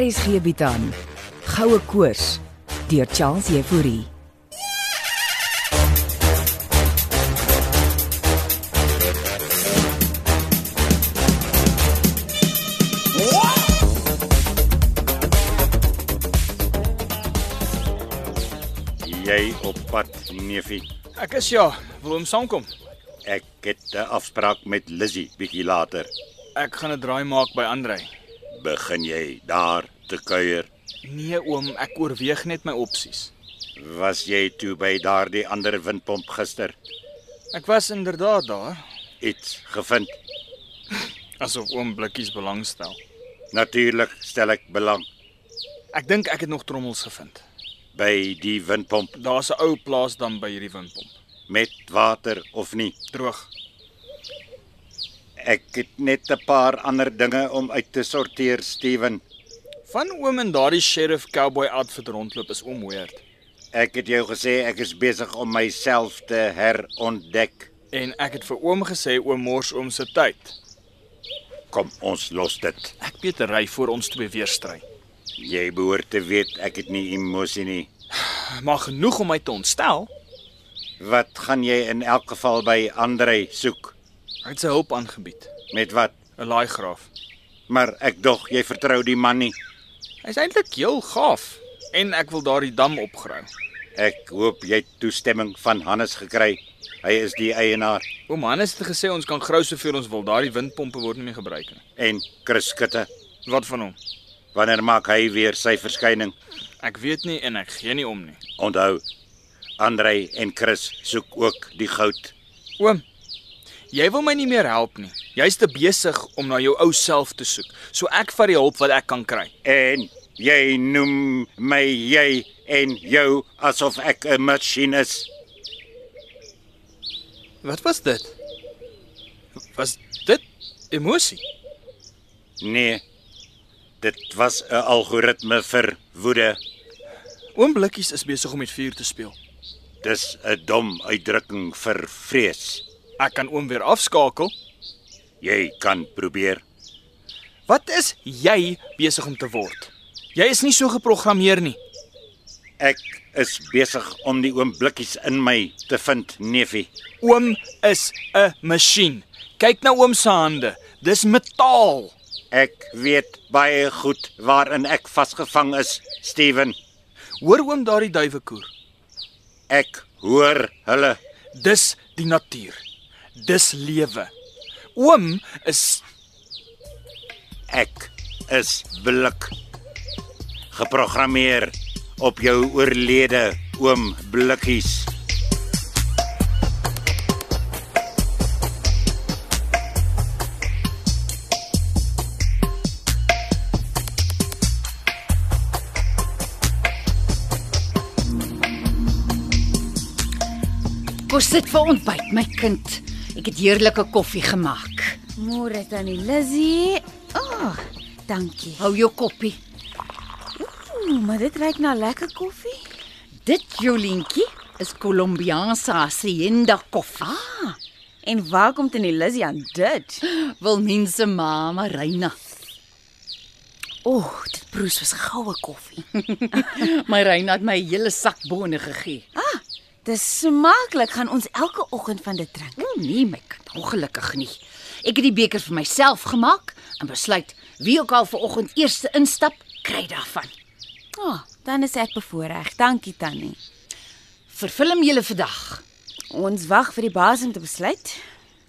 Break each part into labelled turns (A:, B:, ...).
A: RSG bied aan Goue Koors deur Charles Euphorie.
B: Jy op pad, neefie.
C: Ek is ja, wil hom saamkom.
B: Ek het 'n afspraak met Lizzy bietjie later.
C: Ek gaan 'n draai maak by Andrei.
B: Begin jy daar te kuier?
C: Nee oom, ek oorweeg net my opsies.
B: Was jy toe by daardie ander windpomp gister?
C: Ek was inderdaad daar,
B: Iets gevind?
C: asof oom blikkies belangstel.
B: Natuurlik stel ek belang
C: Ek dink ek het nog trommels gevind.
B: by die windpomp
C: Daar's 'n ou plaasdam by hierdie windpomp.
B: met water of nie.
C: Droog.
B: Ek het net 'n paar ander dinge om uit te sorteer, Steven.
C: Van oom en daardie sheriff cowboy outfit rondloop is oom weird
B: Ek het jou gesê ek is besig om myself te herontdek.
C: en ek het vir oom gesê oom mors oom se tyd.
B: Kom, ons los dit.
C: Ek weet 'n ry voor ons twee weer stry.
B: Jy behoort te weet ek het nie emosie nie.
C: Maar genoeg om my te ontstel.
B: Wat gaan jy in elk geval by Andrei soek?
C: Hy het sy hulp aangebied,
B: Met wat?
C: 'n laaigraaf.
B: Maar ek dog jy vertrou die man nie.
C: Hy's eintlik heel gaaf en ek wil daardie dam opgrawe.
B: Ek hoop jy het toestemming van Hannes gekry. Hy is die eienaar
C: Oom Hannes het gesê ons kan grou soveel ons wil. Daardie windpompe word nie meer gebruik nie.
B: en Chris Skutte.
C: Wat van hom?
B: Wanneer maak hy weer sy verskyning?
C: Ek weet nie en ek gee nie om nie.
B: Onthou, Andrei en Chris soek ook die goud.
C: Oom, jy wil my nie meer help nie. Jy's te besig om na jou ou self te soek. So ek vat die hulp wat ek kan kry.
B: En jy noem my jy en jou asof ek 'n masjien is.
C: Wat was dit? Was dit emosie?
B: Nee. Dit was 'n algoritme vir woede.
C: Oom Blikkies is besig om met vuur te speel.
B: Dis 'n dom uitdrukking vir vrees.
C: Ek kan oom weer afskakel.
B: Jy kan probeer.
C: Wat is jy besig om te word? Jy is nie so geprogrammeer nie.
B: Ek is besig om die oomblikkies in my te vind, neefie.
C: Oom is 'n masjien. Kyk na oom se hande. Dis metaal.
B: Ek weet baie goed waarin ek vasgevang is, Steven.
C: Hoor oom daardie duiwekoer.
B: Ek hoor hulle.
C: Dis die natuur. Dis lewe. Oom is
B: Ek is blik geprogrammeer op jou oorlede oomblikkies.
D: Kos sit vir ontbyt, my kind. Ek het heerlike koffie gemaak.
E: Môre tannie Lizzy. Ag, oh, dankie.
D: Hou jou koppie.
E: Ooh, maar dit reuk na lekker koffie.
D: Dit Jolientjie is Colombiaanse hacienda koffie. Ah,
E: En waar kom tannie Lizzy aan dit?
D: wil mense mama Reina. O, oh, dit proes was goue koffie. my Reina het my hele sak bone gegee.
E: Dis smaaklik. Gaan ons elke oggend van dit drink.
D: O nee, my kind, ongelukkig nie. Ek het die beker vir myself gemaak en besluit wie ook al vanoggend eerste instap, kry daarvan.
E: Ag, oh, dan is ek bevoorreg. Dankie tannie.
D: Verfilm julle vandag.
E: Ons wag vir die baas om te besluit.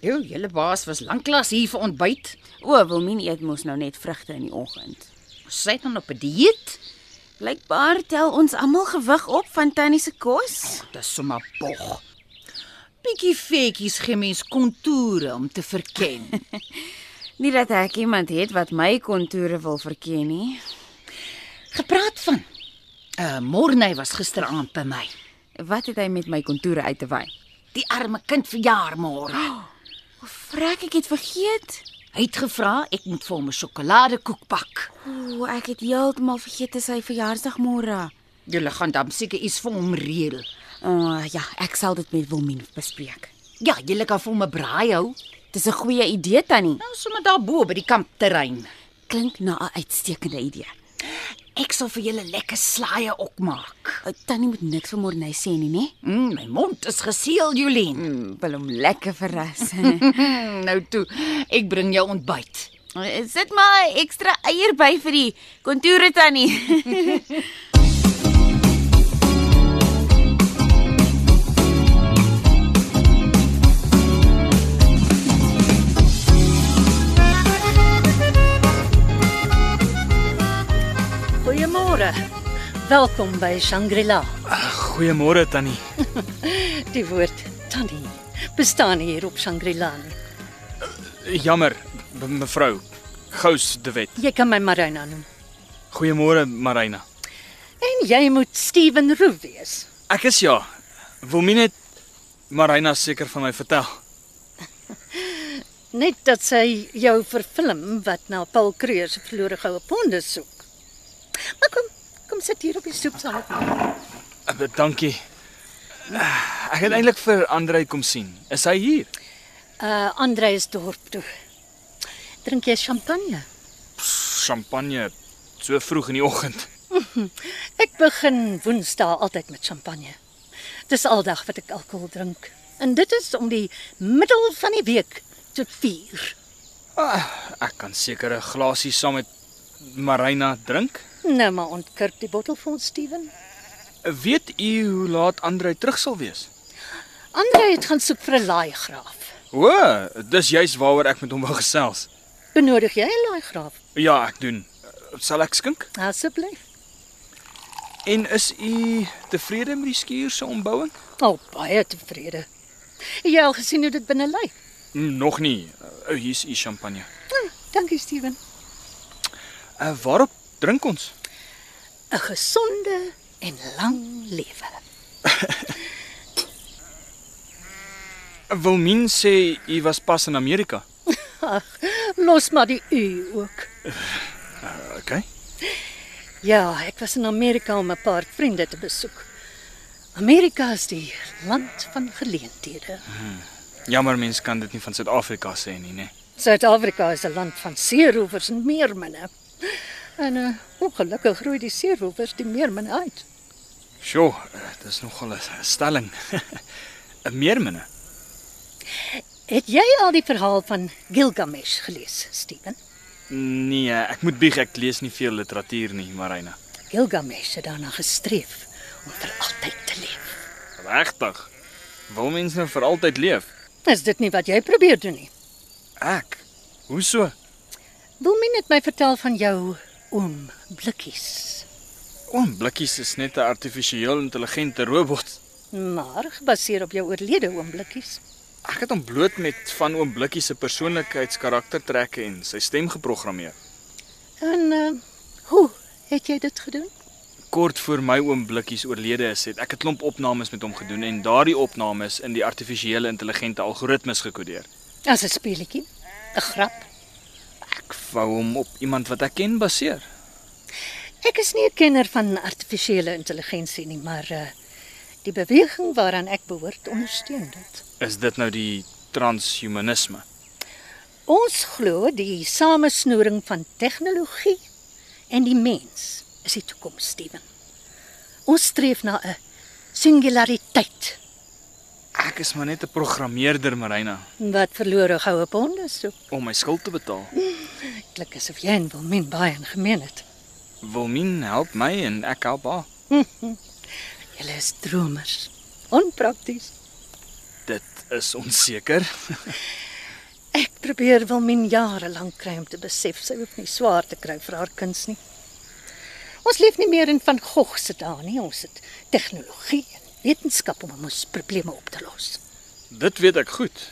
D: Jo, julle baas was lanklaas hier vir ontbyt.
E: O, Wilmien eet mos nou net vrugte in die oggend.
D: Sy het dan op 'n dieet.
E: Blykbaar tel ons almal gewig op van tannie se kos.
D: Dis sommer bog. Bietjie vetjies gee mens kontoure om te verken.
E: Nie dat ek iemand het wat my kontoure wil verken nie.
D: Gepraat van. Uh Morney was gisteraand by my.
E: Wat het hy met my kontoure uit te wy?
D: Die arme kind verjaar môre.
E: O, frek, ek het vergeet.
D: Hy het gevra ek moet vir hom 'n sjokoladekoek bak.
E: Ooh, ek het heeltemal vergeet dis sy verjaarsdag môre.
D: Julle gaan dan seker iets vir hom reël.
E: O oh, ja, ek sal dit met Wilmien bespreek.
D: Ja, julle kan vir hom 'n braai hou.
E: Dis 'n goeie idee tannie.
D: Nou sommer daarbo by die kampterrein.
E: Klink na 'n uitstekende idee.
D: Ek sal vir julle lekker slaaië ook maak.
E: Tannie moet niks van Morney sê nie, né?
D: Mm, my mond is geseël, Jolien.
E: Mm, wil hom lekker verras.
D: Mm, nou toe, ek bring jou ontbyt.
E: Sit maar 'n ekstra eier by vir die kontoure tannie.
F: Goeiemôre. Welkom by Shangri-La.
C: Goeiemôre Tannie.
F: Die woord tannie bestaan hier op Shangri-La. nie.
C: Jammer, me- mevrou Gous de Wet.
F: Jy kan my Marina noem.
C: Goeiemôre Marina.
F: En jy moet Steven Roo wees.
C: Ek is ja. Wil my net Marina seker van my vertel.
F: Net dat sy jou verfilm wat na Paul Creer se verlore goue ponde soek. Maar kom, kom sit hier op die stoep saam met my.
C: Eh, be- Dankie. Ek het eintlik vir Andrei kom sien. Is hy hier?
F: Uh Andre is dorp toe. Drink jy champagne?
C: Champagne so vroeg in die oggend.
F: Ek begin Woensdae altyd met champagne. Dis aldag wat ek alkohol drink. En dit is om die middel van die week te vier.
C: Ek kan seker 'n glasie saam met Marina drink.
F: Nou maar ontkurk die bottel vir ons Steven.
C: Weet u hoe laat Andrei terug sal wees?
F: Andre het gaan soek vir 'n laaigraaf.
C: O, dis juis waaroor ek met hom wou gesels.
F: Benodig jy 'n laaigraaf?
C: Ja, ek doen. Sal ek skink?
F: Asseblief.
C: En is u tevrede met die skuur se ombouing?
F: Al baie tevrede. Het Jy al gesien hoe dit binne lyk.
C: Nog nie. Uh, hier's u champagne.
F: Hm, dankie Steven.
C: Uh, waarop drink ons?
F: 'n Gesonde en lang lewe.
C: Wilmien sê u was pas in Amerika.
F: Ag, los maar die u ook.
C: Okay.
F: Ja, ek was in Amerika om 'n paar vriende te besoek. Amerika is die land van geleenthede.
C: Jammer mens kan dit nie van Suid-Afrika sê nie, né?
F: Suid-Afrika is 'n land van seerovers en meerminne. En uh, ongelukkig groei die seerovers die meerminne uit.
C: Sjoe, eh, dis nogal 'n stelling. Eh, 'n Meerminne.
F: Het jy al die verhaal van Gilgamesh gelees, Steven?
C: Nee, ek moet bieg, ek lees nie veel literatuur nie, Marina.
F: Gilgamesh het daarna gestreef om vir altyd te leef.
C: Regtig? Wil mens nou vir altyd leef?
F: Is dit nie wat jy probeer doen nie?
C: Ek. Hoe so?
F: Wil my net my vertel van jou oom Blikkies,
C: Oom Blikkies is net 'n artifisieel intelligente robot.
F: maar gebaseer op jou oorlede oom Blikkies.
C: Ek het hom bloot met van Oom Blikkies se persoonlikheidskaraktertrekke en sy stem geprogrammeer.
F: En uh, hoe het jy dit gedoen?
C: Kort voor my oom Blikkies oorlede is, het ek 'n klomp opnames met hom gedoen en daardie opnames in die artifisiële intelligente algoritmes gekodeer.
F: As 'n speletjie, 'n grap.
C: Ek wou hom op iemand wat ek ken baseer.
F: Ek is nie 'n kenner van artifisiële intelligensie nie, maar uh die beweging waaraan ek behoort ondersteun dit.
C: Is dit nou die transhumanisme?
F: Ons glo die samesnoering van tegnologie en die mens is die toekoms, Steven. Ons streef na 'n singulariteit
C: Ek is maar net 'n programmeerder, Marina,
F: wat verlore goue ponde soek.
C: om my skuld te betaal.
F: Klink asof jy en Wilmien baie in gemeen het.
C: Wilmien help my en ek help haar.
F: Julle is dromers, onprakties.
C: Dit is onseker.
F: Ek probeer Wilmien jare lank kry om te besef sy hoef nie swaar te kry vir haar kuns nie. Ons leef nie meer in van Gogh se dae nie, ons het tegnologie en wetenskap om ons probleme op te los.
C: Dit weet ek goed.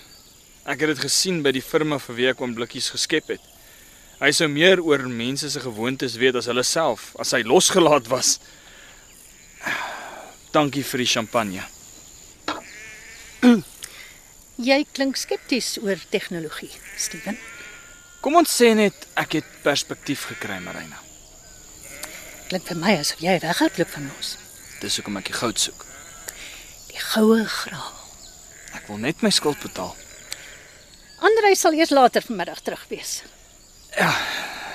C: Ek het dit gesien by die firma vir wie ek oom Blikkies geskep het. Hy sou meer oor mense se gewoontes weet as hulle self as hy losgelaat was. Dankie vir die champagne.
F: Jy klink skepties oor tegnologie, Steven.
C: Kom ons sê net ek het perspektief gekry, Marina.
F: Klink vir my asof jy weghardloop van ons.
C: Dis hoekom ek die goud soek.
F: Die goue graal.
C: Ek wil net my skuld betaal.
F: Andrei sal eers later vanmiddag terug wees.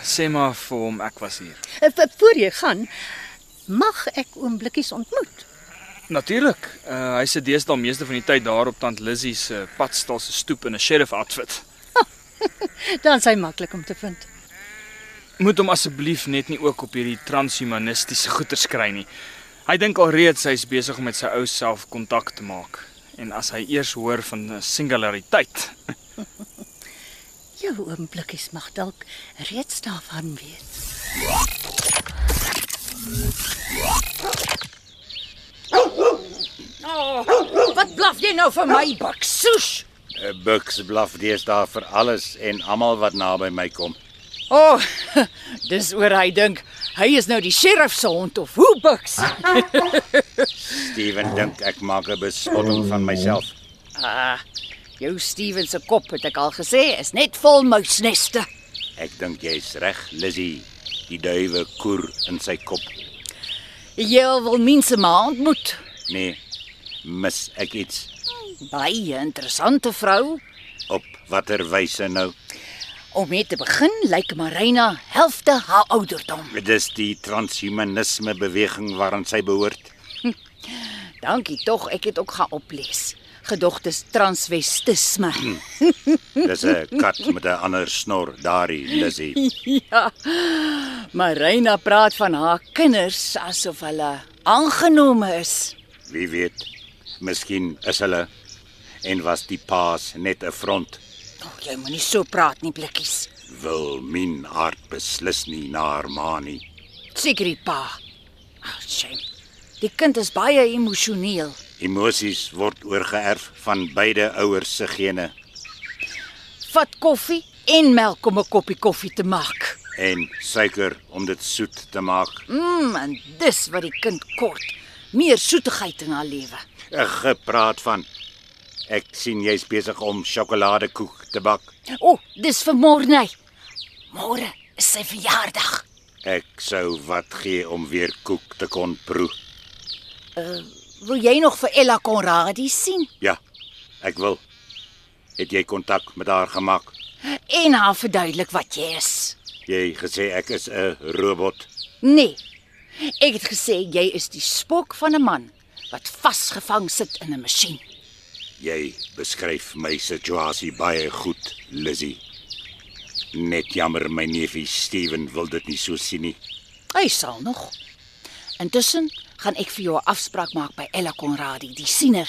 C: Sê maar vir hom ek was hier.
F: Eh, v- Voor jy gaan, mag ek oomblikkies ontmoet?
C: Natuurlik. Uh hy sit deesdae meeste van die tyd daar op Tant Lizzie se padstal se stoep in 'n sheriff outfit.
F: Dan is hy maklik om te vind.
C: Moet hom asseblief net nie ook op hierdie transhumanistiese goeters kry nie. Hy dink alreeds hy's besig om met sy ou self kontak te maak. En as hy eers hoor van eh, singulariteit,
F: Jou oomblikkies mag dalk reeds daarvan weet.
D: Oh, Wat blaf jy nou vir my baksoes?
B: Eh, Buks blaf deesdae vir alles en almal wat naby my kom.
D: O, oh, dis oor hy dink. Hy is nou die sheriff se hond of hoe buks.
B: Steven dink ek maak 'n bespotting van myself.
D: Ah, jou Steven se kop het ek al gesê is net vol muisneste.
B: Ek dink jy's reg, Lizzy. Die duwe koer in sy kop.
D: Jy wil mense maar ontmoet.
B: Nee, mis ek iets
D: Baie interessante vrou.
B: op watter wyse nou?
D: Om mee te begin lyk Marina helfte haar ouderdom.
B: Dis die transhumanisme beweging waaraan sy behoort.
D: Dankie tog, ek het ook gaan oplees. Gedog dis transvestisme.
B: Dis 'n kat met 'n ander snor, daardie Lizzy.
D: Ja. Marina praat van haar kinders asof hulle aangenome is.
B: Wie weet? Miskien is hulle en was die paas net 'n front.
D: Oh, jy moenie so praat nie, blikkies.
B: Wil min aard beslis nie na haar ma nie.
D: Seker die pa. Ag, oh, shame. Die kind is baie emosioneel.
B: Emosies word oorgeerf van beide ouers se gene
D: Vat koffie en melk om 'n koppie koffie te maak.
B: en suiker om dit soet te maak.
D: Mm, en dis wat die kind kort. Meer soetigheid in haar lewe.
B: Gepraat van Ek sien jy's besig om sjokoladekoek te bak.
D: O, oh, dis vir môre nie. Môre is sy verjaardag.
B: Ek sou wat gee om weer koek te kon proe.
D: Wil jy nog vir Ella Konradie sien
B: Ja, ek wil. Het jy kontak met haar gemaak?
D: en haar verduidelik wat jy is?
B: Jy gesê ek is 'n robot.
D: Nee. Ek het gesê jy is die spok van 'n man wat vasgevang sit in 'n masjien.
B: Jy beskryf my situasie baie goed, Lizzy. Net jammer my neefie Steven wil dit nie so sien nie.
D: Hy sal nog. Intussen gaan ek vir jou 'n afspraak maak by Ella Konradie, die siener,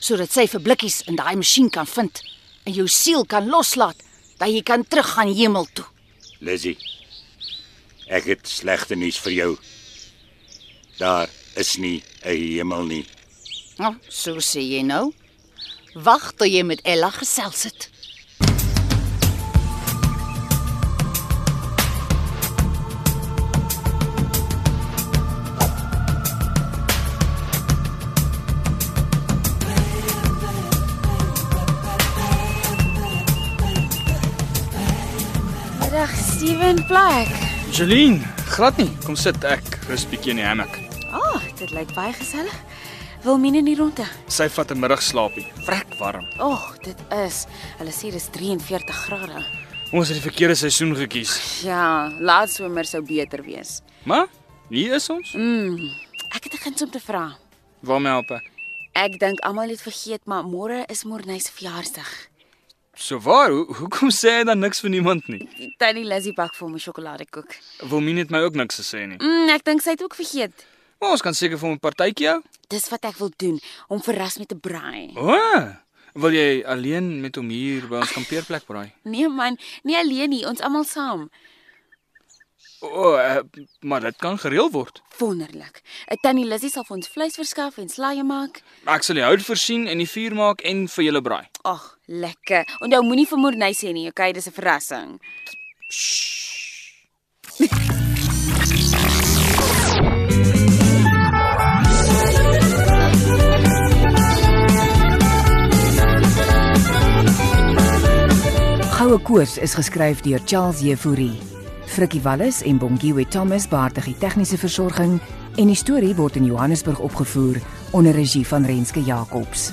D: sodat sy vir blikkies in daai masjien kan vind en jou siel kan loslaat dat jy kan teruggaan hemel toe.
B: Lizzy. Ek het slegte nuus vir jou. Daar is nie 'n hemel nie.
D: Nou, so sê jy nou. Wag tot jy met Ella gesels het.
E: Middag Steven Black.
C: Jeline, glad nie. Kom sit ek rus bietjie in die hammock.
E: Ah, oh, dit lyk baie gesellig. Wilmien in die ronde.
C: Sy vat 'n middagslaapie. Vrek warm.
E: O, oh, dit is. Hulle sê dis 43 grade.
C: Ons het die verkeerde seisoen gekies.
E: Ja, laat somer sou beter wees.
C: Maar hier is ons.
E: Mm, ek het 'n guns om te vra.
C: Waarmee help ek?
E: Ek dink almal het vergeet, maar môre is Morney se verjaarsdag.
C: So waar, ho hoekom sê hy dan niks vir niemand nie?
E: Die Tannie Lizzie bak vir my sjokoladekoek.
C: Wilmien het my ook niks gesê nie.
E: Mm, ek dink sy het ook vergeet.
C: Maar ons kan seker vir 'n partytjie hou.
E: Dis wat ek wil doen, hom verras met 'n braai.
C: O, oh, wil jy alleen met hom hier by ons kampeerplek braai?
E: Nee man, nie alleen nie, ons almal saam.
C: O, oh, uh, maar dit kan gereël word.
E: Wonderlik. 'n Tannie Lizzie sal vir ons vleis verskaf en slaaië maak.
C: Ek sal die hout voorsien en die vuur maak en vir julle braai.
E: Ag, lekker. Onthou moenie vir Morney sê nie, okay? Dis 'n verrassing.
A: Goue Koors is geskryf deur Charles Jefouri. Frikkie Wallis en Bongiwe Thomas baartig die tegniese versorging en die storie word in Johannesburg opgevoer onder regie van Renske Jacobs.